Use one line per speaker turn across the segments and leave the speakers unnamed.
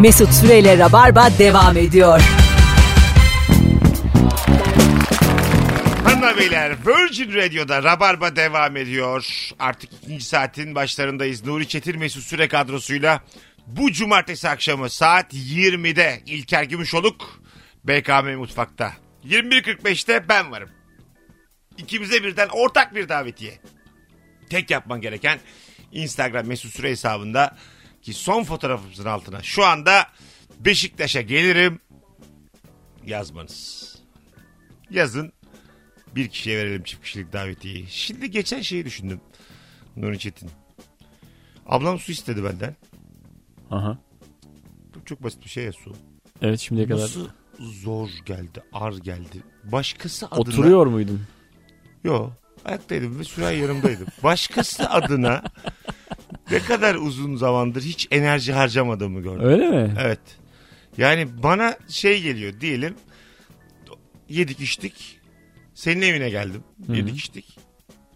Mesut Süreyle Rabarba devam ediyor.
Hanımlar beyler Virgin Radio'da Rabarba devam ediyor. Artık ikinci saatin başlarındayız. Nuri Çetin Mesut Süre kadrosuyla bu cumartesi akşamı saat 20'de İlker Gümüşoluk BKM Mutfak'ta. 21.45'te ben varım. İkimize birden ortak bir davetiye. Tek yapman gereken Instagram Mesut Süre hesabında ki son fotoğrafımızın altına şu anda Beşiktaş'a gelirim yazmanız. Yazın bir kişiye verelim çift kişilik davetiyi. Şimdi geçen şeyi düşündüm. Nuri Çetin. Ablam su istedi benden.
Aha.
Çok, çok basit bir şey ya su.
Evet şimdiye kadar.
Su zor geldi, ar geldi. Başkası adına...
Oturuyor muydun?
Yo, ayaktaydım ve süren yanımdaydım. Başkası adına ne kadar uzun zamandır hiç enerji harcamadığımı gördüm.
Öyle mi?
Evet. Yani bana şey geliyor diyelim yedik içtik. Senin evine geldim. Yedik içtik.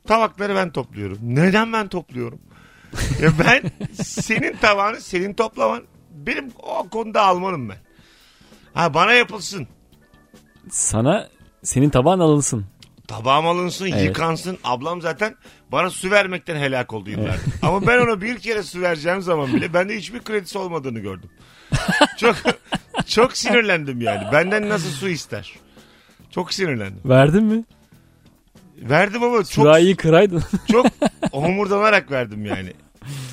Tabakları ben topluyorum. Neden ben topluyorum? ya ben senin tabağını senin toplaman benim o konuda almanım ben. Ha bana yapılsın.
Sana senin tabağın alınsın.
Tabağım alınsın,
Evet.
yıkansın. Ablam zaten bana su vermekten helak oldu yıllardır. Ama ben ona bir kere su vereceğim zaman bile bende hiçbir kredisi olmadığını gördüm. çok çok sinirlendim yani. Benden nasıl su ister? Çok sinirlendim.
Verdin mi?
Verdim ama çok
Şurayı kıraydın.
çok homurdanarak verdim yani.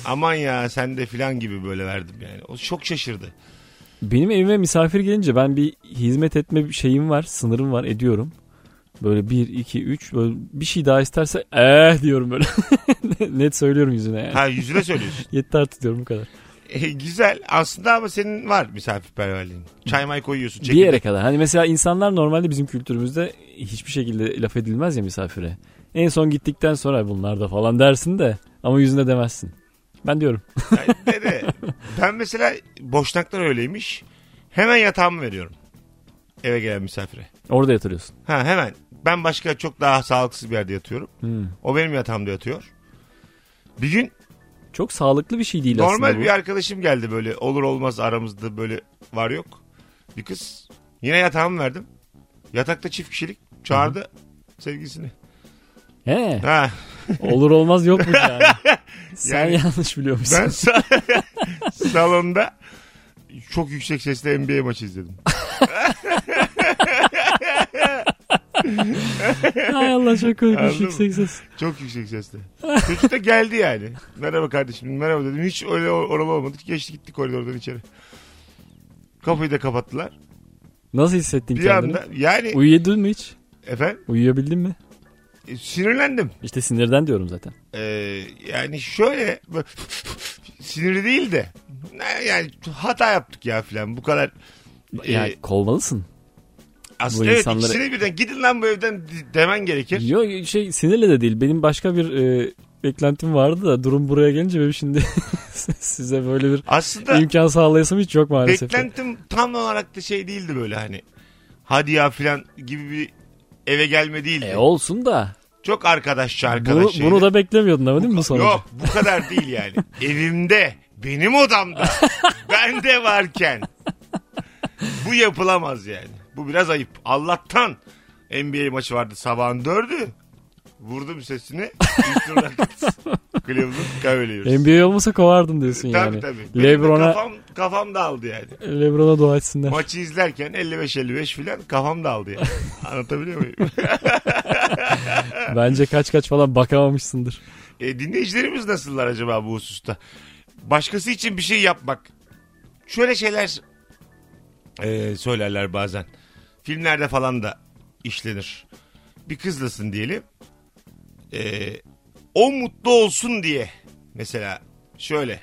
Aman ya sen de filan gibi böyle verdim yani. O çok şaşırdı.
Benim evime misafir gelince ben bir hizmet etme şeyim var, sınırım var, ediyorum. Böyle bir, iki, üç, böyle bir şey daha isterse eh diyorum böyle. Net söylüyorum yüzüne yani.
Ha yüzüne söylüyorsun.
Yetti artık diyorum bu kadar.
E, güzel aslında ama senin var misafirperverliğin. Çay may koyuyorsun.
Bir
çekirdek
yere kadar. Hani mesela insanlar normalde bizim kültürümüzde hiçbir şekilde laf edilmez ya misafire. En son gittikten sonra bunlar da falan dersin de ama yüzünde demezsin. Ben diyorum.
Yani dede, ben mesela boşnaklar öyleymiş. Hemen yatağımı veriyorum. Eve gelen misafire.
Orada yatırıyorsun.
Ha hemen. Ben başka çok daha sağlıksız bir yerde yatıyorum.
Hmm.
O benim yatağımda yatıyor. Bir gün
Çok sağlıklı bir şey değil
normal
aslında bu.
bir arkadaşım geldi böyle olur olmaz aramızda böyle var yok. Bir kız yine yatağımı verdim. Yatakta çift kişilik çağırdı sevgilisini.
He,
Ha
olur olmaz yok mu yani? Sen
Yani
yanlış biliyormuşsun.
ben sa- salonda çok yüksek sesle NBA maçı izledim.
Hay Allah çok korkunç
Anladın
yüksek ses.
Çok yüksek sesle. Çocuk da geldi yani. Merhaba kardeşim merhaba dedim. Hiç öyle or- oralı olmadık. Geçti gitti koridordan içeri. Kapıyı da kapattılar.
Nasıl hissettin
Bir
kendini?
anda yani
Uyuyabildin mi hiç?
efendim
Uyuyabildin mi?
e, sinirlendim.
İşte sinirden diyorum zaten.
Ee, yani şöyle böyle sinirli değil de ne- yani hata yaptık ya filan bu kadar. Ee,
Yani kovmalısın.
aslında
bu
evet
insanları-
ikisine birden gidin lan bu evden di- demen gerekir.
Yok şey sinirle de değil. Benim başka bir e, beklentim vardı da durum buraya gelince benim şimdi size böyle bir
Aslında
imkan sağlayasım hiç yok maalesef.
Beklentim tam olarak da şey değildi böyle hani. Hadi ya filan gibi bir eve gelme değildi.
E olsun da.
Çok arkadaşça arkadaş
Bunu,
şeydi.
bunu da beklemiyordun ama değil mi bu sonucu?
şey Yok bu kadar değil yani. Evimde, benim odamda, bende varken bu yapılamaz yani. Bu biraz ayıp. Allah'tan NBA maçı vardı sabahın dördü. Vurdum sesini. Houston Rockets, Cleveland Cavaliers.
NBA olmasa kovardım diyorsun
Tabii
yani.
tabii. Benim de
Lebron'a
Kafam, kafam dağıldı yani.
Lebron'a dua etsinler.
Maçı izlerken 55-55 filan kafam dağıldı yani. Anlatabiliyor muyum?
Bence kaç kaç falan bakamamışsındır.
E, dinleyicilerimiz nasıllar acaba bu hususta? Başkası için bir şey yapmak. Şöyle şeyler e, söylerler bazen. Filmlerde falan da işlenir. Bir kızlasın diyelim. E, o mutlu olsun diye. Mesela şöyle.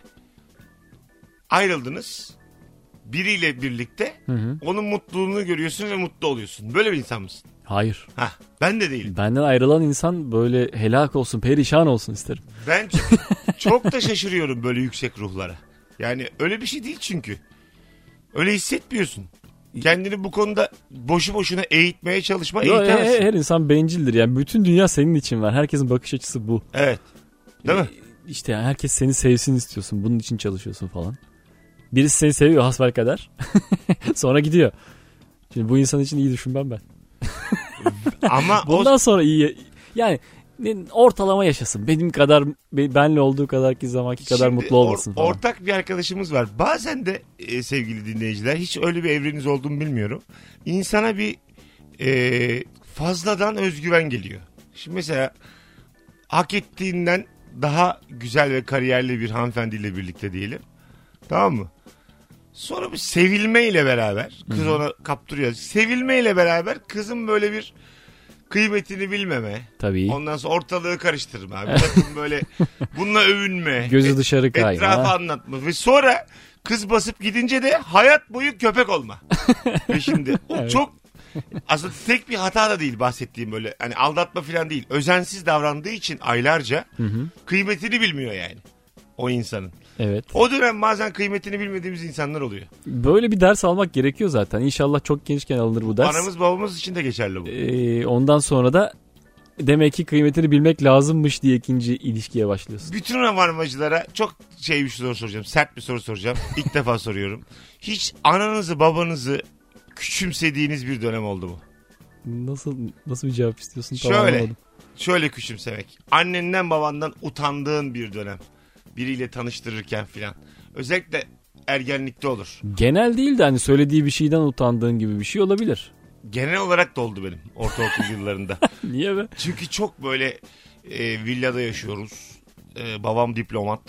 Ayrıldınız. Biriyle birlikte onun mutluluğunu görüyorsun ve mutlu oluyorsun. Böyle bir insan mısın?
Hayır.
Hah, ben de değilim.
Benden ayrılan insan böyle helak olsun, perişan olsun isterim.
Ben ç- çok da şaşırıyorum böyle yüksek ruhlara. Yani öyle bir şey değil çünkü. Öyle hissetmiyorsun. Kendini bu konuda boşu boşuna eğitmeye çalışma
Yo, he-
eğitemezsin.
her insan bencildir. Yani bütün dünya senin için var. Herkesin bakış açısı bu.
Evet. Değil mi?
İşte yani herkes seni sevsin istiyorsun. Bunun için çalışıyorsun falan. Birisi seni seviyor hasbel kadar. Sonra gidiyor. Şimdi bu insan için iyi düşünmem ben.
Ama o
Bundan sonra iyi yani ne- ortalama yaşasın. Benim kadar be- benle olduğu kadar ki zamanki kadar
Şimdi
mutlu
or-
olmasın falan.
ortak bir arkadaşımız var. Bazen de e, sevgili dinleyiciler hiç öyle bir evreniz olduğunu bilmiyorum. İnsana bir e, fazladan özgüven geliyor. Şimdi mesela hak ettiğinden daha güzel ve kariyerli bir hanımefendiyle birlikte diyelim. Tamam mı? Sonra bir sevilmeyle beraber kız ona kaptırıyor. Sevilmeyle beraber kızın böyle bir kıymetini bilmeme.
Tabii.
Ondan sonra ortalığı karıştırma. Bir takım böyle bununla övünme. e,
Gözü dışarı kayma.
Etrafı anlatma. Ve sonra kız basıp gidince de hayat boyu köpek olma. Ve şimdi o çok aslında tek bir hata da değil bahsettiğim böyle. Hani aldatma falan değil. Özensiz davrandığı için aylarca kıymetini bilmiyor yani o insanın.
Evet.
O dönem bazen kıymetini bilmediğimiz insanlar oluyor.
Böyle bir ders almak gerekiyor zaten. İnşallah çok gençken alınır bu ders.
Anamız babamız için de geçerli bu.
Ee, ondan sonra da demek ki kıymetini bilmek lazımmış diye ikinci ilişkiye başlıyorsun.
Bütün ravarmacılara çok şey bir soru soracağım. Sert bir soru soracağım. İlk defa soruyorum. Hiç ananızı babanızı küçümsediğiniz bir dönem oldu mu?
Nasıl nasıl bir cevap istiyorsun? Tam
Şöyle.
anlamadım.
Şöyle küçümsemek. Annenden babandan utandığın bir dönem. Biriyle tanıştırırken filan. Özellikle ergenlikte olur.
Genel değil de hani söylediği bir şeyden utandığın gibi bir şey olabilir.
Genel olarak da oldu benim ortaokul yıllarında.
Niye be?
Çünkü çok böyle e, villada yaşıyoruz. E, babam diplomat.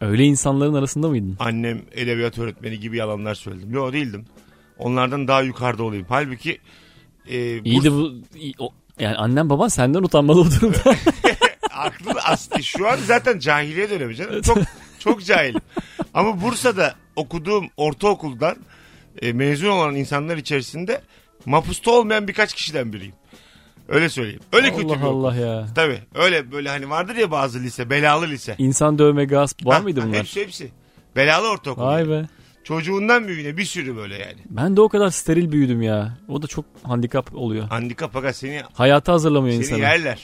Öyle insanların arasında mıydın?
annem edebiyat öğretmeni gibi yalanlar söyledim. Yo değildim. Onlardan daha yukarıda olayım. Halbuki e,
İyi
Burs-
de bu iyi- o- yani annen baban senden utanmalı o durumda.
aklı aslı şu an zaten cahiliye dönemi canım. Çok çok cahilim. Ama Bursa'da okuduğum ortaokuldan e, mezun olan insanlar içerisinde mapusta olmayan birkaç kişiden biriyim. Öyle söyleyeyim. Öyle kötü bir
Allah
okul.
Allah ya.
Tabii öyle böyle hani vardır ya bazı lise belalı lise.
İnsan dövme gasp var
Ha,
mıydı
ha,
bunlar?
Hepsi hepsi. Belalı ortaokul.
Vay
yani.
be.
Çocuğundan büyüğüne bir sürü böyle yani.
Ben de o kadar steril büyüdüm ya. O da çok handikap oluyor.
Handikap aga seni
Hayata hazırlamıyor
Seni
insanı.
yerler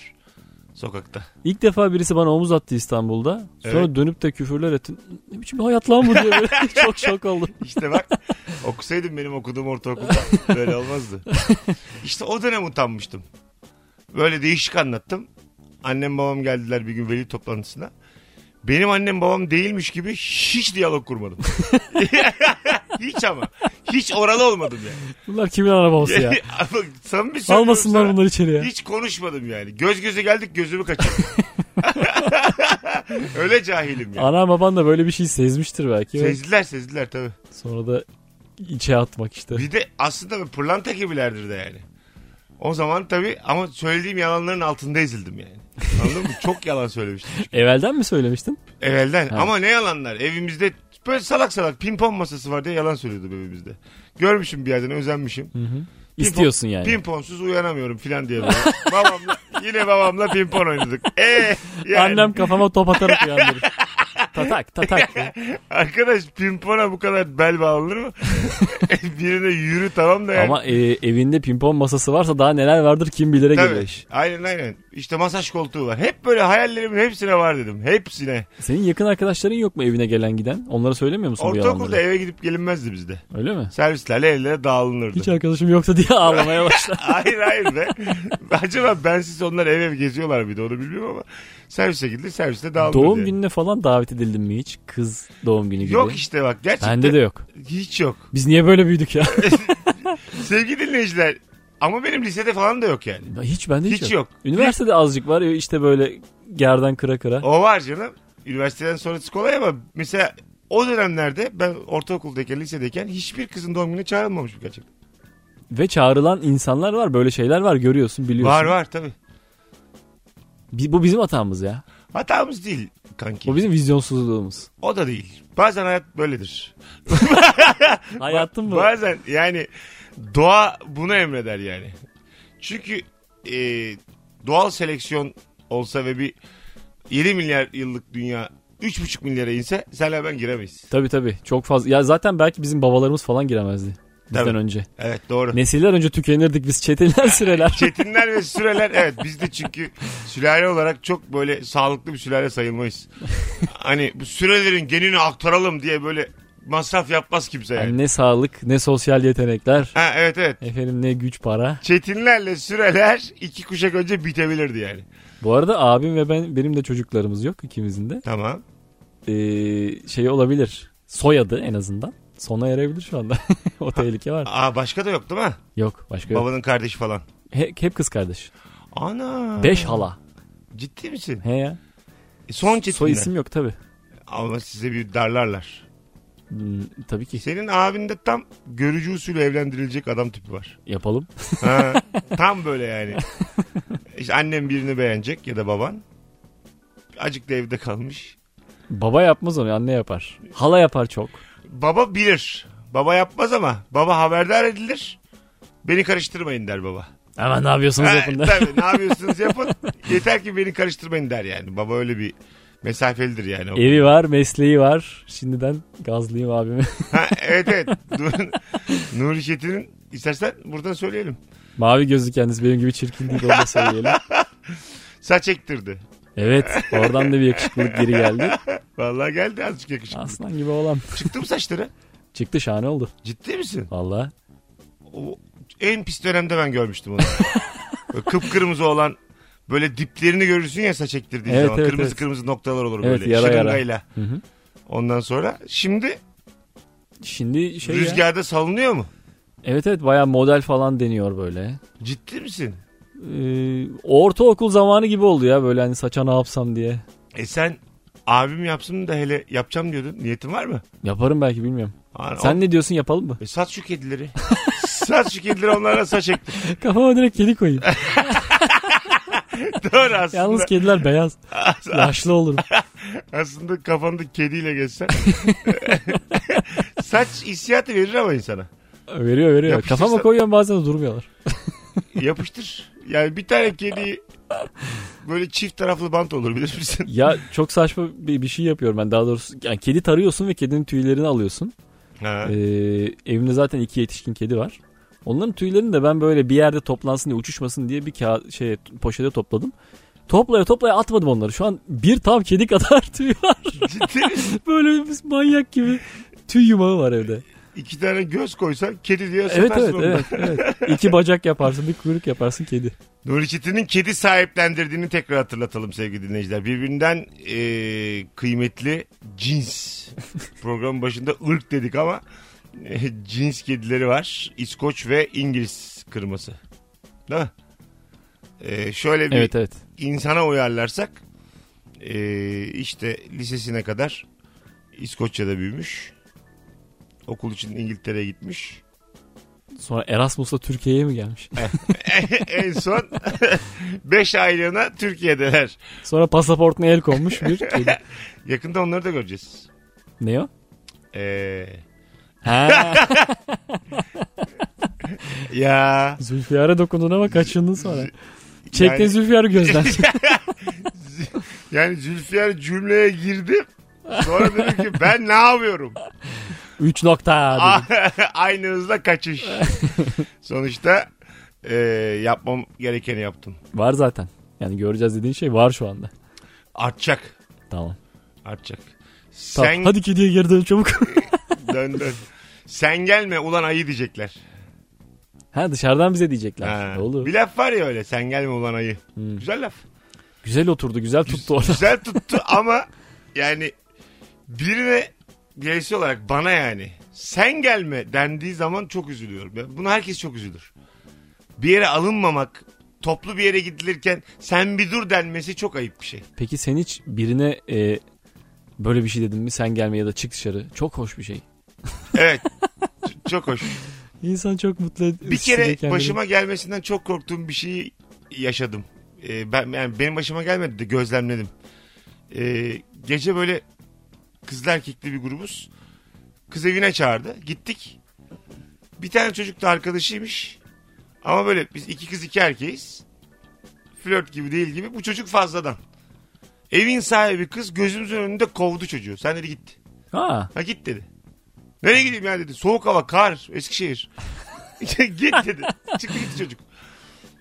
sokakta.
İlk defa birisi bana omuz attı İstanbul'da. Sonra
Evet.
dönüp de küfürler etti. Ne biçim bir hayat lan bu diye böyle çok şok oldum.
İşte bak okusaydım benim okuduğum ortaokulda böyle olmazdı. İşte o dönem utanmıştım. Böyle değişik anlattım. Annem babam geldiler bir gün veli toplantısına. Benim annem babam değilmiş gibi hiç diyalog kurmadım. hiç ama. Hiç oralı olmadım yani.
Bunlar kimin arabası ya?
Ama samimi söylüyorum
Almasınlar
sana.
bunları içeri ya.
Hiç konuşmadım yani. Göz göze geldik gözümü kaçırdım. Öyle cahilim yani.
Ana baban da böyle bir şey sezmiştir belki.
Sezdiler sezdiler tabii.
Sonra da içe atmak işte.
Bir de aslında böyle pırlanta gibilerdir de yani. O zaman tabii ama söylediğim yalanların altında ezildim yani. Anladın mı? Çok yalan söylemiştim. çünkü.
Evvelden mi söylemiştin?
Evvelden ama ne yalanlar. Evimizde böyle salak salak pimpon masası var diye yalan söylüyordum evimizde. Görmüşüm bir yerden özenmişim. Pimpon-
İstiyorsun yani.
Pimponsuz uyanamıyorum filan diye böyle. babamla, yine babamla pimpon oynadık. Ee, yani.
Annem kafama top atarak uyandırır. tatak tatak.
Arkadaş pimpona bu kadar bel bağlanır mı? Birine yürü tamam da yani.
Ama e, evinde pimpon masası varsa daha neler vardır kim bilire
Tabii.
gelir.
Aynen aynen. İşte masaj koltuğu var. Hep böyle hayallerimin hepsine var dedim. Hepsine.
Senin yakın arkadaşların yok mu evine gelen giden? Onlara söylemiyor musun bu
Ortaokulda
yalanları?
eve gidip gelinmezdi bizde.
Öyle mi?
Servislerle evlere dağılınırdı.
Hiç arkadaşım yoktu diye ağlamaya başlar.
hayır hayır be. Acaba bensiz onlar ev ev geziyorlar mıydı onu bilmiyorum ama servise gidilir serviste dağılınırdı.
Doğum
yani.
gününe falan davet edildim mi hiç? Kız doğum günü gibi.
Yok işte bak gerçekten
Bende de yok.
hiç yok.
Biz niye böyle büyüdük ya?
Sevgili dinleyiciler ama benim lisede falan da yok yani.
hiç bende hiç,
Hiç yok.
Üniversitede azıcık var işte böyle gerdan kıra kıra.
O var canım. Üniversiteden sonrası kolay ama mesela o dönemlerde ben ortaokuldayken lisedeyken hiçbir kızın doğum gününe çağrılmamışım gerçekten.
Ve çağrılan insanlar var böyle şeyler var görüyorsun biliyorsun.
Var var tabii.
Bi- bu bizim hatamız ya.
Hatamız değil kanki.
Bu
O,
bizim vizyonsuzluğumuz.
da değil. Bazen hayat böyledir.
Hayatın mı?
Bazen yani doğa bunu emreder yani. Çünkü e, doğal seleksiyon olsa ve bir 7 milyar yıllık dünya 3,5 milyara inse senle ben giremeyiz.
Tabii tabii çok fazla. Ya zaten belki bizim babalarımız falan giremezdi bizden
Tabii.
önce.
Evet doğru.
Nesiller önce tükenirdik biz çetinler süreler.
Çetinler ve süreler evet biz de çünkü sülale olarak çok böyle sağlıklı bir sülale sayılmayız. hani bu sürelerin genini aktaralım diye böyle masraf yapmaz kimse yani.
Yani ne sağlık ne sosyal yetenekler.
Ha, evet evet.
Efendim ne güç para.
Çetinlerle süreler iki kuşak önce bitebilirdi yani.
Bu arada abim ve ben benim de çocuklarımız yok ikimizin de.
Tamam.
Ee, şey olabilir. Soyadı en azından. Sona erebilir şu anda. o tehlike var.
Aa başka da yok değil mi?
Yok başka yok.
Babanın kardeşi falan.
He- hep kız kardeş.
Ana.
Beş hala.
Ciddi misin?
He ya.
E, Son çetinler.
Soy isim yok tabi.
Ama size bir darlarlar.
Hmm, tabii ki
Senin abinde tam görücü usulü evlendirilecek adam tipi var.
yapalım.
Ha, tam böyle yani. İşte annem birini beğenecek ya da baban. Acık da evde kalmış.
Baba yapmaz onu anne yapar. Hala yapar çok.
Baba bilir. Baba yapmaz ama baba haberdar edilir. Beni karıştırmayın der baba.
Hemen ne yapıyorsunuz
Ha,
yapın da.
Tabii ne yapıyorsunuz yapın. Yeter ki beni karıştırmayın der yani. Baba öyle bir mesafelidir yani. O-
Evi var mesleği var. Şimdiden gazlayayım abimi.
Ha, evet evet. Nur- Nuri Çetin'in istersen buradan söyleyelim.
Mavi gözlü kendisi benim gibi çirkin değil onu da söyleyelim.
Saç ektirdi.
Evet oradan da bir yakışıklılık geri geldi.
Vallahi geldi azıcık yakışıklı.
Aslan gibi oğlan.
Çıktı mı saçları?
Çıktı şahane oldu.
Ciddi misin?
Valla.
O, en pis dönemde ben görmüştüm onu. Böyle kıpkırmızı olan böyle diplerini görürsün ya saç ektirdiği
Evet,
zaman.
evet,
kırmızı
evet.
kırmızı noktalar olur
Evet,
böyle.
yara yara.
şırıngayla.
Hı hı.
Ondan sonra şimdi
Şimdi şey ya.
rüzgarda salınıyor mu?
Evet evet baya model falan deniyor böyle.
Ciddi misin?
Ee, ortaokul zamanı gibi oldu ya böyle hani saça ne yapsam diye.
E sen abim yapsın da hele yapacağım diyordun. Niyetin var mı?
Yaparım belki bilmiyorum.
Aa,
Sen ne diyorsun yapalım mı?
o- E sat şu kedileri. sat şu kedileri onlara saç ektir.
Kafama direkt kedi koyayım.
Doğru aslında.
Yalnız kediler beyaz. Yaşlı olurum.
Aslında kafanda kediyle geçsen. Saç hissiyatı verir ama insana.
Veriyor veriyor.
Yapıştırsa-
Kafama koyuyorum bazen de durmuyorlar.
Yapıştır. Yani bir tane kedi böyle çift taraflı bant olur bilir misin?
Ya çok saçma bir, bir şey yapıyorum ben daha doğrusu. Yani kedi tarıyorsun ve kedinin tüylerini alıyorsun.
Ha.
Ee, evimde zaten iki yetişkin kedi var. Onların tüylerini de ben böyle bir yerde toplansın diye uçuşmasın diye bir kağıt şey poşete topladım. Toplaya toplaya atmadım onları. Şu an bir tam kedi kadar tüy var.
Ciddi misin?
böyle bir manyak gibi tüy yumağı var evde.
İki tane göz koysan kedi diye
Evet
satarsın
evet,
onu.
evet evet. İki bacak yaparsın, bir kuyruk yaparsın kedi.
Nuri Çetin'in kedi sahiplendirdiğini tekrar hatırlatalım sevgili dinleyiciler. Birbirinden e, kıymetli cins. Programın başında ırk dedik ama e, cins kedileri var. İskoç ve İngiliz kırması. Değil mi? E, şöyle bir
Evet evet.
insana uyarlarsak e, işte lisesine kadar İskoçya'da büyümüş. Okul için İngiltere'ye gitmiş.
Sonra Erasmus'la Türkiye'ye mi gelmiş?
en son 5 aylığına Türkiye'deler.
Sonra pasaportuna el konmuş bir kedi.
Yakında onları da göreceğiz.
Ne o?
Ee,
Ha,
ya
Zülfiyar'a dokundun ama kaçındın sonra. Çektin
yani,
Zülfiyar'ı gözden.
yani Zülfiyar cümleye girdi. Sonra dedim ki ben ne yapıyorum?
3 nokta dedi.
Aynı hızla kaçış. Sonuçta e, yapmam gerekeni yaptım.
Var zaten. Yani göreceğiz dediğin şey var şu anda.
Artacak.
Tamam.
Artacak.
tamam.
Sen
Hadi kediye geri dön çabuk.
dön dön. Sen gelme ulan ayı diyecekler.
ha dışarıdan bize diyecekler.
Ha.
Ne olur.
Bir laf var ya öyle sen gelme ulan ayı.
Hmm.
Güzel laf.
Güzel oturdu, güzel tuttu orada.
Güzel tuttu ama yani birine bireysi olarak bana yani sen gelme dendiği zaman çok üzülüyorum. Ben- Buna herkes çok üzülür. Bir yere alınmamak, toplu bir yere gidilirken sen bir dur denmesi çok ayıp bir şey.
Peki sen hiç birine e, böyle bir şey dedin mi sen gelme ya da çık dışarı. Çok hoş bir şey.
Evet. Ç- çok hoş.
İnsan çok mutlu ed-
Bir
hissediyor
kere
kendini.
başıma gelmesinden çok korktuğum bir şeyi yaşadım. Ee, ben yani benim başıma gelmedi de gözlemledim. Ee, gece böyle kızlar erkekli bir grubuz. Kız evine çağırdı. Gittik. Bir tane çocuk da arkadaşıymış. Ama böyle biz iki kız iki erkeğiz. Flört gibi değil gibi. Bu çocuk fazladan. Evin sahibi kız gözümüzün önünde kovdu çocuğu. Sen dedi git.
Ha,
Ha git dedi. Nereye gideyim ya dedi. Soğuk hava, kar, Eskişehir. git dedi. Çıktı gitti çocuk.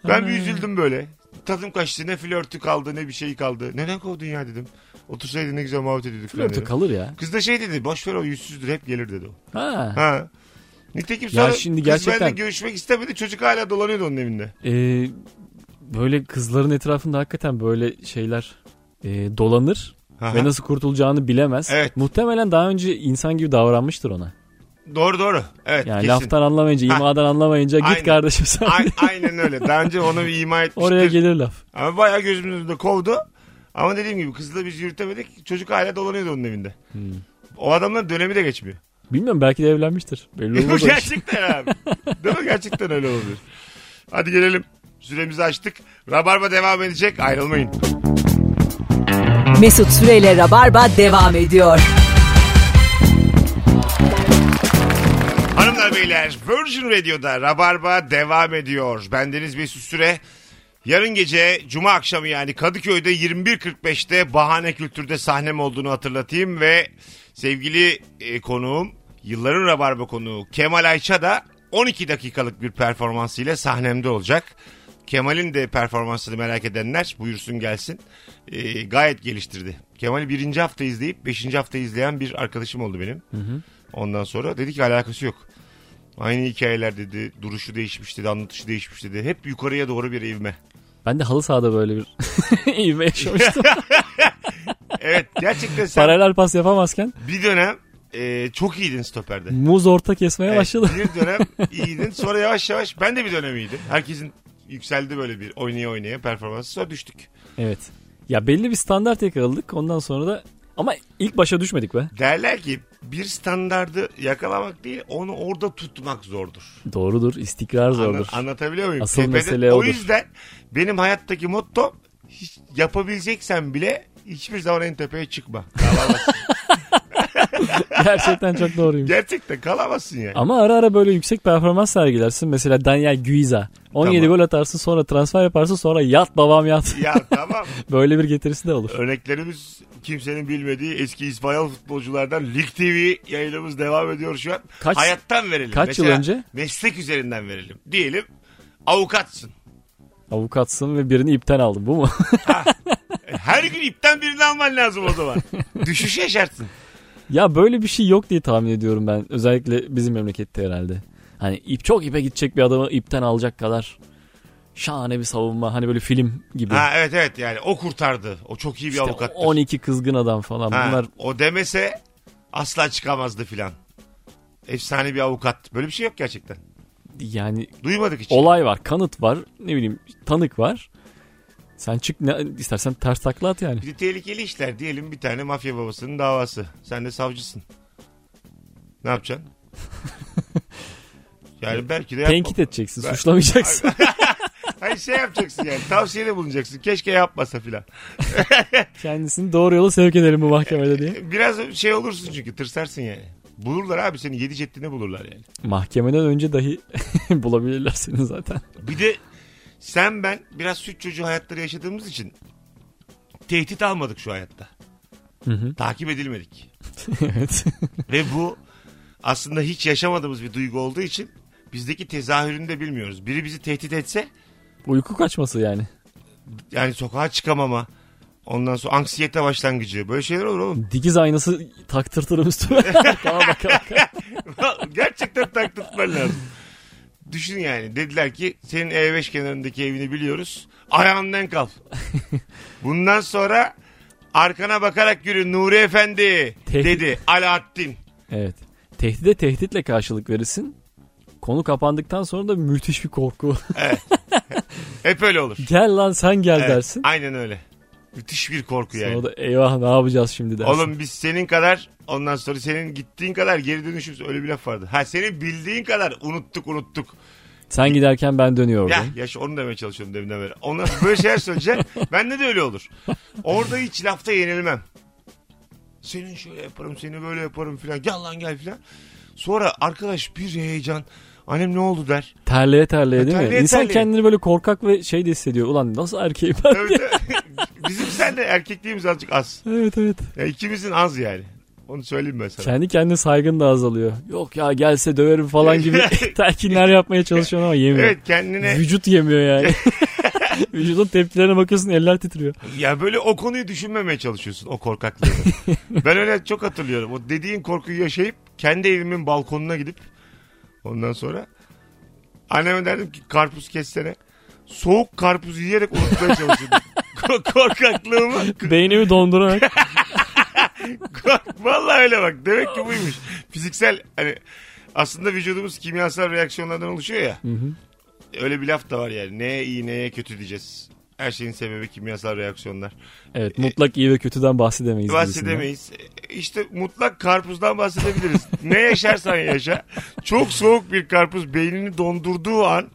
Ben bir üzüldüm böyle. tadım kaçtı ne flörtü kaldı ne bir şey kaldı. Neden kovdun ya dedim. Otursaydın ne güzel muhabbet ediyorduk. falan
Flörtü
dedim.
kalır ya.
Kız da şey dedi boş ver o yüzsüzdür hep gelir dedi o.
Ha.
Ha. Nitekim sonra
şimdi
kız benimle
gerçekten-
görüşmek istemedi çocuk hala dolanıyordu onun evinde.
Ee, böyle kızların etrafında hakikaten böyle şeyler e, dolanır
Aha.
ve nasıl kurtulacağını bilemez.
Evet.
Muhtemelen daha önce insan gibi davranmıştır ona.
Doğru doğru. Evet
Yani
kesin.
laftan anlamayınca,
Ha.
imadan anlamayınca
Aynen.
git kardeşim sen.
A- aynen öyle. Daha önce onu bir ima etmiştir.
Oraya gelir laf.
Ama bayağı gözümün önünde kovdu. Ama dediğim gibi kızla biz yürütemedik. Çocuk hala dolanıyordu onun evinde. O adamların dönemi de geçmiyor.
Bilmiyorum belki de evlenmiştir. Belli
Bu
olmaz. o iş.
gerçekten abi. Değil mi? Gerçekten öyle olabilir. Hadi gelelim. Süremizi açtık. Rabarba devam edecek. Ayrılmayın.
Mesut Süreyle Rabarba devam ediyor.
Hanımlar beyler Virgin Radio'da Rabarba devam ediyor. Bendeniz Mesut Süre. Yarın gece Cuma akşamı yani Kadıköy'de 21.45'te Bahane Kültür'de sahnem olduğunu hatırlatayım ve sevgili e, konuğum yılların Rabarba konuğu Kemal Ayça da 12 dakikalık bir performansıyla sahnemde olacak. Kemal'in de performansını merak edenler buyursun gelsin. E, gayet geliştirdi. Kemal'i birinci hafta izleyip beşinci hafta izleyen bir arkadaşım oldu benim. Ondan sonra dedi ki alakası yok. Aynı hikayeler dedi. Duruşu değişmiş dedi. Anlatışı değişmiş dedi. Hep yukarıya doğru bir ivme.
Ben de halı sahada böyle bir ivme yaşamıştım.
Evet gerçekten sen
Paralel pas yapamazken
bir dönem e, çok iyiydin stoperde.
muz orta kesmeye
Evet,
başladı.
bir dönem iyiydin. Sonra yavaş yavaş ben de bir dönem iyiydim. Herkesin yükseldi böyle bir oynaya oynaya performansı. Sonra düştük.
Evet. Ya belli bir standart yakaladık. Ondan sonra da ama ilk başa düşmedik be.
Derler ki bir standardı yakalamak değil onu orada tutmak zordur.
Doğrudur. istikrar
Anla-
zordur.
anlatabiliyor muyum?
Asıl
Tepede-
mesele
O
odur.
yüzden benim hayattaki motto hiç yapabileceksen bile hiçbir zaman en tepeye çıkma. Kalamazsın.
Gerçekten çok doğruyum.
Gerçekten kalamazsın yani.
Ama ara ara böyle yüksek performans sergilersin. Mesela Daniel Guiza. 17
Tamam.
gol atarsın sonra transfer yaparsın sonra yat babam yat.
ya tamam.
böyle bir getirisi de olur.
Örneklerimiz kimsenin bilmediği eski İspanyol futbolculardan Lig TV yayınımız devam ediyor şu an.
Kaç-
Hayattan verelim.
kaç
Mesela
yıl önce?
Meslek üzerinden verelim. Diyelim avukatsın.
Avukatsın ve birini ipten aldın bu mu?
E, Her gün ipten birini alman lazım o zaman. Düşüş yaşarsın.
ya böyle bir şey yok diye tahmin ediyorum ben. Özellikle bizim memlekette herhalde. Hani ip çok ipe gidecek bir adamı ipten alacak kadar şahane bir savunma. Hani böyle film gibi.
Ha evet evet yani o kurtardı. O çok iyi bir
İşte
avukattır.
12 kızgın adam falan.
Ha,
Bunlar
O demese asla çıkamazdı filan. Efsane bir avukat. Böyle bir şey yok gerçekten.
yani
Duymadık hiç.
olay var, kanıt var, ne bileyim tanık var. Sen çık ne istersen ters takla at yani.
Bir de tehlikeli işler diyelim bir tane mafya babasının davası. Sen de savcısın. Ne yapacaksın? yani belki de yapma.
E, Tenkit edeceksin, suçlamayacaksın.
Hayır şey yapacaksın yani tavsiyede bulunacaksın. Keşke yapmasa filan.
Kendisini doğru yola sevk edelim bu mahkemede diye.
Biraz şey olursun çünkü tırsarsın yani. Bulurlar abi seni yedi ceddini bulurlar yani.
Mahkemeden önce dahi bulabilirler seni zaten.
Bir de sen ben biraz süt çocuğu hayatları yaşadığımız için tehdit almadık şu hayatta.
Hı hı.
Takip edilmedik.
evet.
Ve bu aslında hiç yaşamadığımız bir duygu olduğu için bizdeki tezahürünü de bilmiyoruz. Biri bizi tehdit etse
Uyku kaçması yani.
yani sokağa çıkamama ondan sonra anksiyete başlangıcı böyle şeyler olur oğlum.
Dikiz aynası taktırtırım üstüme. tamam bakalım.
Gerçekten taktırtman lazım. Düşün yani dediler ki senin E5 kenarındaki evini biliyoruz ayağından kal. Bundan sonra arkana bakarak yürü Nuri Efendi
Tehdit-
dedi Alaaddin.
Evet. Tehdide tehditle karşılık verirsin. Konu kapandıktan sonra da müthiş bir korku.
Hep öyle olur.
gel lan sen gel
Evet,
dersin.
aynen öyle. Müthiş bir korku yani.
Sonra da eyvah ne yapacağız şimdi dersin.
Oğlum biz senin kadar ondan sonra senin gittiğin kadar geri dönüşümüz öyle bir laf vardı. Ha senin bildiğin kadar unuttuk unuttuk.
Sen giderken ben dönüyorum.
Ya yaş onu demeye çalışıyorum deminden beri. Onlar böyle şeyler söyleyecek. Bende de öyle olur. Orada hiç lafta yenilmem. Senin şöyle yaparım seni böyle yaparım filan. Gel lan gel filan. Sonra arkadaş bir heyecan. Annem ne oldu der.
Terleye terleye değil mi?
Terleye
İnsan
terleye.
kendini böyle korkak ve şey de hissediyor. Ulan nasıl erkeğim ben?
Tabii de- Bizim senle erkekliğimiz azıcık az.
evet evet.
Ya ikimizin az yani. Onu söyleyeyim ben sana.
Kendi kendine saygın da azalıyor. Yok ya gelse döverim falan gibi telkinler yapmaya çalışıyorsun ama yemiyor.
Evet kendine
Vücut yemiyor yani. Vücudun tepkilerine bakıyorsun eller titriyor.
Ya böyle o konuyu düşünmemeye çalışıyorsun o korkaklığı. ben öyle çok hatırlıyorum. O dediğin korkuyu yaşayıp kendi evimin balkonuna gidip ondan sonra anneme derdim ki karpuz kessene. Soğuk karpuz yiyerek unutmaya çalışıyordum. Ko- Korkaklığımı.
Beynimi dondurarak
Kork- Vallahi öyle bak. Demek ki buymuş. Fiziksel hani aslında vücudumuz kimyasal reaksiyonlardan oluşuyor ya. Öyle bir laf da var yani. Neye iyi neye kötü diyeceğiz. Her şeyin sebebi kimyasal reaksiyonlar.
evet mutlak iyi ve kötüden bahsedemeyiz. gibisinden.
Bahsedemeyiz. İşte mutlak karpuzdan bahsedebiliriz. ne yaşarsan yaşa. Çok soğuk bir karpuz beynini dondurduğu an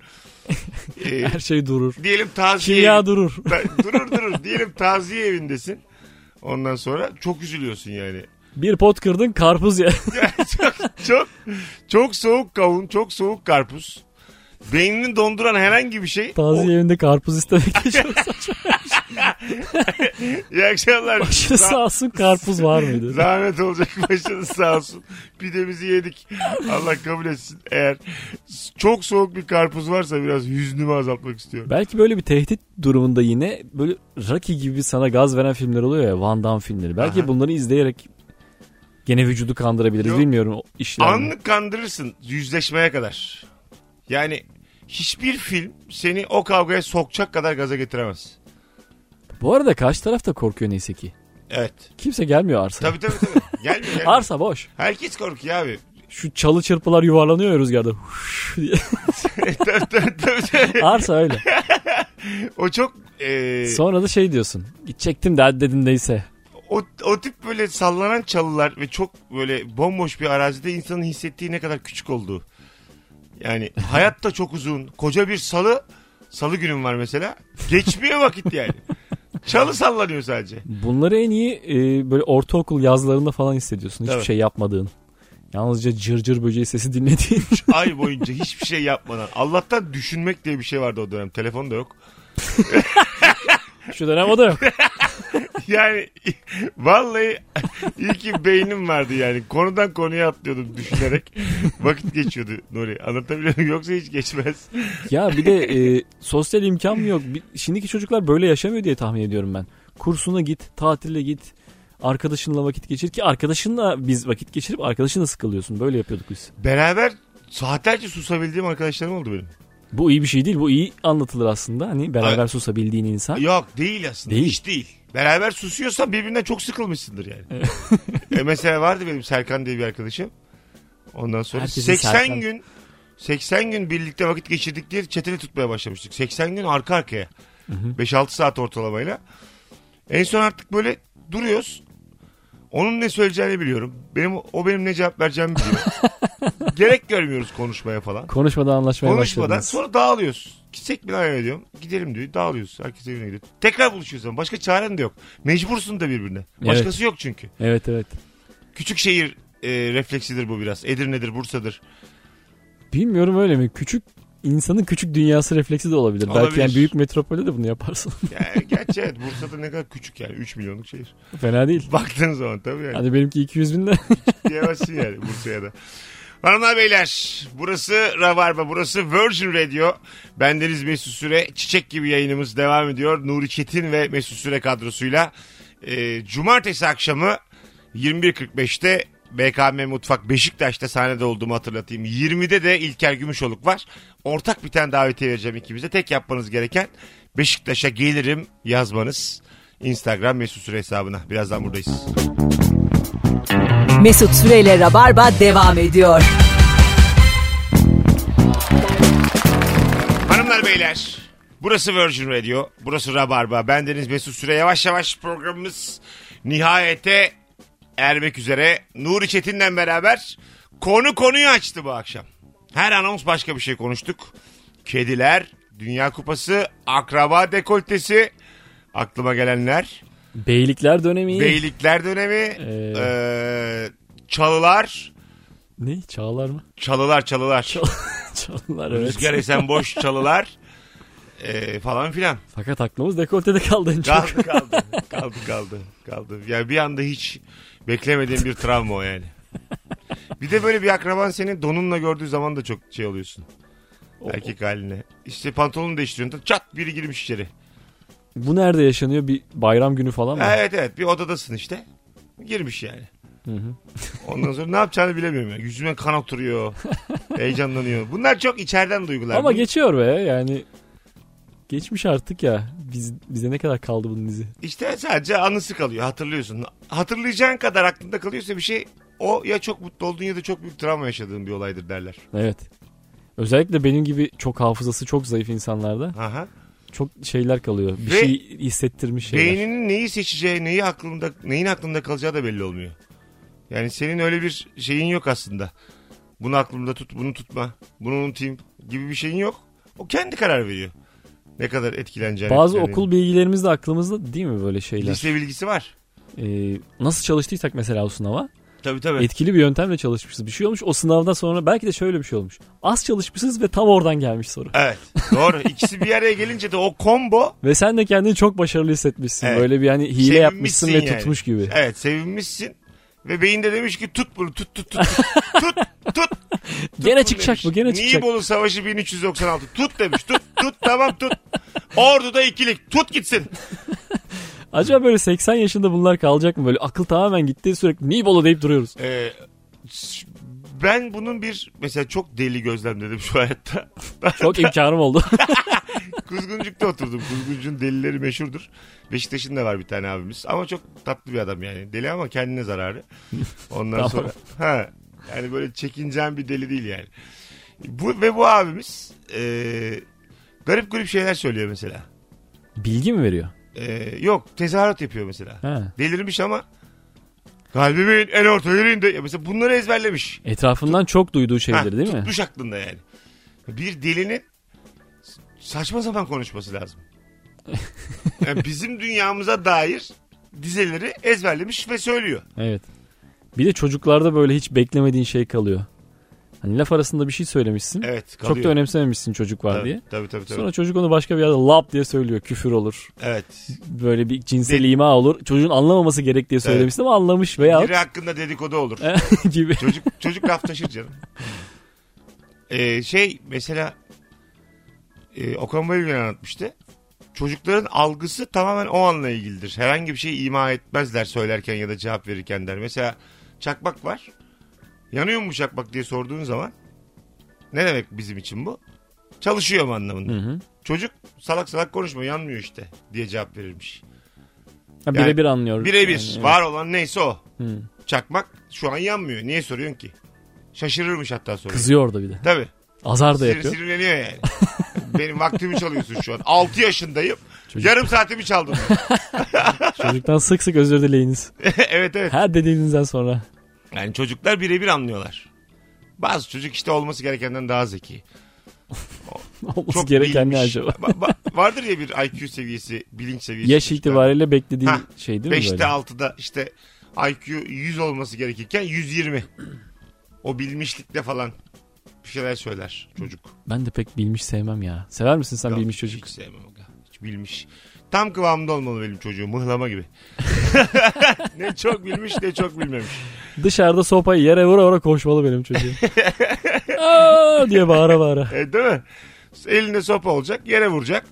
e,
Her şey durur.
diyelim taziye
Kimya durur.
Ben- durur durur. Diyelim taziye evindesin. Ondan sonra çok üzülüyorsun yani.
Bir pot kırdın karpuz ya.
çok, çok çok soğuk kavun, çok soğuk karpuz. Beynini donduran herhangi bir şey.
Taziye evinde karpuz istemek için
O- İyi akşamlar.
başı sağ olsun karpuz var mıydı?
Zahmet olacak başınız sağ olsun. Pidemizi yedik. Allah kabul etsin. Eğer çok soğuk bir karpuz varsa biraz hüznümü azaltmak istiyorum.
Belki böyle bir tehdit durumunda yine böyle Rocky gibi sana gaz veren filmler oluyor ya Van Damme filmleri. Belki
Aha.
bunları izleyerek gene vücudu kandırabiliriz
Yok.
bilmiyorum o işlerini.
Anlık kandırırsın yüzleşmeye kadar. Yani hiçbir film seni o kavgaya sokacak kadar gaza getiremez.
Bu arada karşı taraf da korkuyor neyse ki.
Evet.
Kimse gelmiyor arsaya.
Tabii tabii tabii. Gelmiyor. gelmiyor.
Arsa boş.
Herkes korkuyor abi.
Şu çalı çırpılar yuvarlanıyor ya rüzgarda. Huş diye.
tabii, tabii, tabii, tabii.
Arsa öyle.
O çok e,
Sonra da şey diyorsun. Gidecektim de hadi dedim neyse.
o, o tip böyle sallanan çalılar ve çok böyle bomboş bir arazide insanın hissettiği ne kadar küçük olduğu. Yani hayat da çok uzun. Koca bir salı, salı günüm var mesela. Geçmiyor vakit yani. Çalı sallanıyor sadece.
Bunları en iyi e, böyle ortaokul yazlarında falan hissediyorsun. Hiçbir
Tabii.
şey yapmadığın. Yalnızca cırcır böceği sesi dinlediğin.
Ay boyunca hiçbir şey yapmadan. Allah'tan düşünmek diye bir şey vardı o dönem. Telefon da yok.
Şu dönem o da yok.
Yani vallahi iyi ki beynim vardı yani. Konudan konuya atlıyordum düşünerek. Vakit geçiyordu Nuri. Anlatabiliyor muyum? Yoksa hiç geçmez.
Ya bir de e, sosyal imkan mı yok? Bir- şimdiki çocuklar böyle yaşamıyor diye tahmin ediyorum ben. Kursuna git, tatile git. Arkadaşınla vakit geçir ki arkadaşınla biz vakit geçirip arkadaşınla sıkılıyorsun. Böyle yapıyorduk biz.
Beraber saatlerce susabildiğim arkadaşlarım oldu benim.
Bu iyi bir şey değil. Bu iyi anlatılır aslında. Hani beraber
Evet.
susabildiğin insan.
Yok değil aslında.
Değil.
Hiç değil. Beraber susuyorsan birbirinden çok sıkılmışsındır yani. e mesela vardı benim Serkan diye bir arkadaşım. Ondan sonra
Herkesin
80
Serkan.
gün 80 gün birlikte vakit geçirdik diye çeteli tutmaya başlamıştık. 80 gün arka arkaya. 5-6 saat ortalamayla. En son artık böyle duruyoruz. Onun ne söyleyeceğini biliyorum. Benim o benim ne cevap vereceğimi biliyor. Gerek görmüyoruz konuşmaya falan.
Konuşmadan anlaşmaya
Konuşmadan
başladınız.
sonra dağılıyoruz. Gitsek mi lan eve diyorum. Gidelim diyor. Dağılıyoruz. Herkes evine gidiyor. Tekrar buluşuyoruz ama başka çaren de yok. Mecbursun da birbirine. Başkası yok çünkü.
Evet evet.
Küçük şehir e, refleksidir bu biraz. Edirne'dir, Bursa'dır.
Bilmiyorum öyle mi? Küçük insanın küçük dünyası refleksi de olabilir. Belki
Olabilir.
yani büyük metropolde de bunu yaparsın.
Yani gerçi evet Bursa'da ne kadar küçük yani. 3 milyonluk şehir.
Fena değil.
Baktığın zaman tabii yani.
Hadi benimki 200 bin de.
Diyemezsin yani Bursa'ya da. Hanımlar beyler burası Rabarba burası Virgin Radio. Bendeniz Mesut Süre çiçek gibi yayınımız devam ediyor. Nuri Çetin ve Mesut Süre kadrosuyla. Ee, cumartesi akşamı 21.45'te BKM Mutfak Beşiktaş'ta sahnede olduğumu hatırlatayım. 20'de de İlker Gümüşoluk var. Ortak bir tane davetiye vereceğim ikimize. Tek yapmanız gereken Beşiktaş'a gelirim yazmanız. Instagram Mesut Süre hesabına. Birazdan buradayız.
Mesut Süreyle Rabarba devam ediyor.
Hanımlar beyler burası Virgin Radio burası Rabarba bendeniz Mesut Süre yavaş yavaş programımız nihayete ermek üzere Nuri Çetin'le beraber konu konuyu açtı bu akşam. Her anons başka bir şey konuştuk. Kediler, Dünya Kupası, akraba dekoltesi, aklıma gelenler,
Beylikler dönemi.
beylikler dönemi,
Ee.
eee, çalılar,
Ne? Çağlar mı?
çalılar, çalılar,
Çağlar evet.
rüzgar esen boş çalılar eee, falan filan.
Fakat aklımız dekoltede kaldı en çok.
Kaldı kaldı. kaldı kaldı. Kaldı. Yani bir anda hiç beklemediğim bir travma o yani. Bir de böyle bir akraban senin donunla gördüğü zaman da çok şey oluyorsun. Erkek haline. İşte pantolonu değiştiriyorsun. Çat biri girmiş içeri.
Bu nerede yaşanıyor? Bir bayram günü falan mı?
Evet evet bir odadasın işte. Girmiş yani. Ondan sonra ne yapacağını bilemiyorum. ya. Yüzüme kan oturuyor. heyecanlanıyor. Bunlar çok içeriden duygular.
Ama
Bu-
geçiyor be yani. Geçmiş artık ya. Biz, bize ne kadar kaldı bunun izi?
İşte sadece anısı kalıyor hatırlıyorsun. Hatırlayacağın kadar aklında kalıyorsa bir şey o ya çok mutlu oldun ya da çok büyük travma yaşadığın bir olaydır derler.
Evet. Özellikle benim gibi çok hafızası çok zayıf insanlarda
Aha.
çok şeyler kalıyor. Bir
Ve-
şey hissettirmiş şeyler.
Beyninin neyi seçeceği, neyi aklında, neyin aklında kalacağı da belli olmuyor. Yani senin öyle bir şeyin yok aslında. Bunu aklımda tut, bunu tutma, bunu unutayım gibi bir şeyin yok. O kendi karar veriyor. Ne kadar etkileneceğini.
Bazı
yani.
okul bilgilerimiz de aklımızda değil mi böyle şeyler?
lise bilgisi var.
Ee, nasıl çalıştıysak mesela o sınava
Tabii tabii.
etkili bir yöntemle çalışmışız. Bir şey olmuş o sınavdan sonra belki de şöyle bir şey olmuş. Az çalışmışız ve tam oradan gelmiş soru.
Evet. Doğru. İkisi bir araya gelince de o combo
Ve sen de kendini çok başarılı hissetmişsin.
Evet.
Böyle bir hani hile
Sevinmişsin
yapmışsın ve
yani.
tutmuş gibi.
Evet sevinmişsin. Ve beyin de demiş ki tut bunu tut tut tut tut tut tut.
Gene çıkacak bu gene çıkacak.
Nibolu Savaşı 1396 tut demiş tut tut tamam tut. Ordu'da ikilik tut gitsin.
Acaba böyle 80 yaşında bunlar kalacak mı? Böyle akıl tamamen gitti sürekli Nibolu deyip duruyoruz.
Ee, s- ben bunun bir mesela çok deli gözlemledim şu hayatta.
Çok imkanım oldu.
Kuzguncuk'ta oturdum. Kuzguncuk'un delileri meşhurdur. Beşiktaş'ın da var bir tane abimiz. Ama çok tatlı bir adam yani. Deli ama kendine zararı. Ondan
Tamam.
sonra ha yani böyle çekincen bir deli değil yani. Bu ve bu abimiz e, garip garip şeyler söylüyor mesela.
Bilgi mi veriyor?
E, yok tezahürat yapıyor mesela.
Ha.
Delirmiş ama kalbimin en orta yerinde. Ya Mesela bunları ezberlemiş.
Etrafından çok duyduğu
Ha,
şeyleri değil mi?
Tutmuş aklında yani. Bir delinin saçma sapan konuşması lazım. Yani bizim dünyamıza dair dizeleri ezberlemiş ve söylüyor.
Evet. Bir de çocuklarda böyle hiç beklemediğin şey kalıyor. Hani laf arasında bir şey söylemişsin.
Evet. Kalıyor.
Çok da önemsememişsin çocuk var
tabii,
diye.
Tabii tabii. tabii.
Sonra çocuk onu başka bir yerde lap diye söylüyor. Küfür olur.
Evet.
Böyle bir cinsel ima olur. Çocuğun anlamaması gerek diye söylemişsin ama anlamış veya
Biri hakkında dedikodu olur.
gibi.
çocuk çocuk laf taşır canım. Ee, şey mesela e, Okan Bayülgen anlatmıştı. Çocukların algısı tamamen o anla ilgilidir. Herhangi bir şey ima etmezler söylerken ya da cevap verirken der. Mesela çakmak var. Yanıyor mu bu çakmak diye sorduğun zaman ne demek bizim için bu? Çalışıyor mu anlamında.
Hı hı.
Çocuk salak salak konuşma yanmıyor işte diye cevap verirmiş.
Ha, Birebir anlıyor.
Birebir
Yani, evet.
var olan neyse o.
Hı.
Çakmak şu an yanmıyor. Niye soruyorsun ki? Şaşırırmış hatta soruyor.
Kızıyor da bir de.
Tabii.
Azar da
Sinir-
yapıyor.
Sinirleniyor yani. Benim vaktimi çalıyorsun şu an. 6 yaşındayım.
Çocuk-
Yarım saatimi çaldın.
Çocuktan sık sık özür dileyiniz.
evet evet.
Her dediğinizden sonra.
Yani çocuklar birebir anlıyorlar. Bazı çocuk işte olması gerekenden daha zeki.
Olması
Çok
gereken ne
bilmiş.
acaba?
Ba- ba- vardır ya bir IQ seviyesi, bilinç seviyesi.
Yaş itibariyle beklediğin
Hah,
şey değil mi
5'te
böyle?
6'da işte IQ 100 olması gerekirken 120. O bilmişlikle falan bir şeyler söyler çocuk.
Ben de pek bilmiş sevmem ya. Sever misin sen
Ya,
bilmiş çocuk?
Hiç sevmem. aga. Hiç bilmiş. Tam kıvamında olmalı benim çocuğum. Mıhlama gibi. ne çok bilmiş ne çok bilmemiş.
Dışarıda sopayı yere vura vura koşmalı benim çocuğum. Aa diye bağıra bağıra.
E, değil mi? Eline sopa olacak yere vuracak.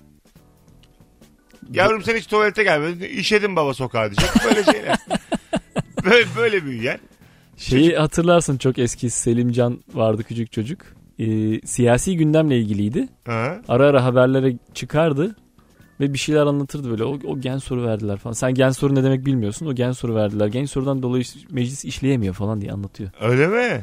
Yavrum sen hiç tuvalete gelmedin. İşedin baba sokağa diyecek. Böyle şeyler. böyle, böyle büyüyen.
Şeyi hatırlarsın çok eski Selimcan vardı küçük çocuk. Ee, siyasi gündemle ilgiliydi.
Ha.
Ara ara haberlere çıkardı ve bir şeyler anlatırdı böyle. O, o gen soru verdiler falan. Sen gen soru ne demek bilmiyorsun. O gen soru verdiler. Gen sorudan dolayı meclis işleyemiyor falan diye anlatıyor.
Öyle mi?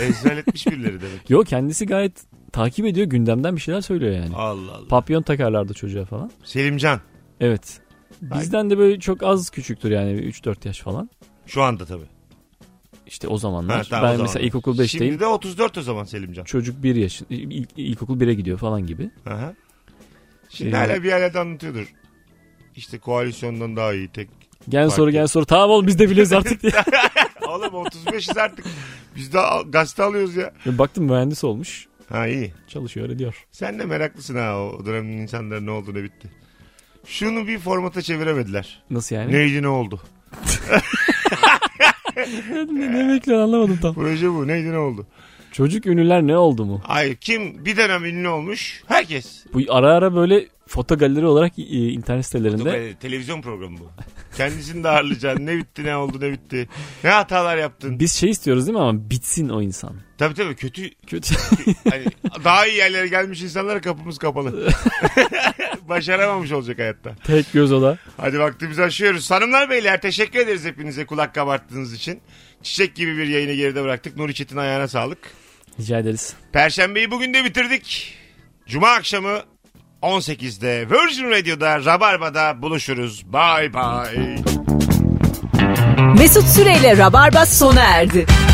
Ezber etmiş birileri demek.
Yo kendisi gayet takip ediyor gündemden bir şeyler söylüyor yani.
Allah Allah.
Papyon takarlardı çocuğa falan.
Selimcan.
Evet. Bizden de böyle çok az küçüktür yani 3-4 yaş falan.
Şu anda tabii.
İşte o zamanlar.
Ha, tamam, o
ben
zaman.
mesela ilkokul 5'teyim.
Şimdi de 34 o zaman Selimcan.
Çocuk 1 yaş, ilk, ilkokul 1'e gidiyor falan gibi.
Aha. Şimdi
Ee,
hala bir yerlerde anlatıyordur. İşte koalisyondan daha iyi tek.
Gel
Fark
soru
et.
gel soru. Tamam oğlum biz de biliyoruz artık diye.
Oğlum 35'iz artık. Biz daha gazete alıyoruz ya.
Baktım mühendis olmuş.
Ha iyi.
Çalışıyor öyle diyor.
Sen de meraklısın ha o dönemin insanların ne oldu ne bitti. Şunu bir formata çeviremediler.
Nasıl yani?
Neydi ne oldu?
Ne, ne bekliyorsun anlamadım tam.
Proje bu. Neydi ne oldu?
Çocuk ünlüler ne oldu mu?
Hayır kim bir dönem ünlü olmuş? Herkes.
Bu ara ara böyle foto galeri olarak e, internet
Bu
sitelerinde
böyle televizyon programı bu. Kendisini de ağırlayacaksın. Ne bitti ne oldu ne bitti. Ne hatalar yaptın.
biz şey istiyoruz değil mi ama bitsin o insan.
Tabii tabii kötü.
Kötü.
Hani daha iyi yerlere gelmiş insanlara kapımız kapalı. Başaramamış olacak hayatta.
Tek göz ola.
Hadi vaktimizi aşıyoruz. Hanımlar beyler teşekkür ederiz hepinize kulak kabarttığınız için. Çiçek gibi bir yayını geride bıraktık. Nuri Çetin ayağına sağlık.
Rica ederiz.
Perşembeyi bugün de bitirdik. Cuma akşamı 18'de Virgin Radio'da Rabarba'da buluşuruz. Bye bye.
Mesut Süreyle Rabarba sona erdi.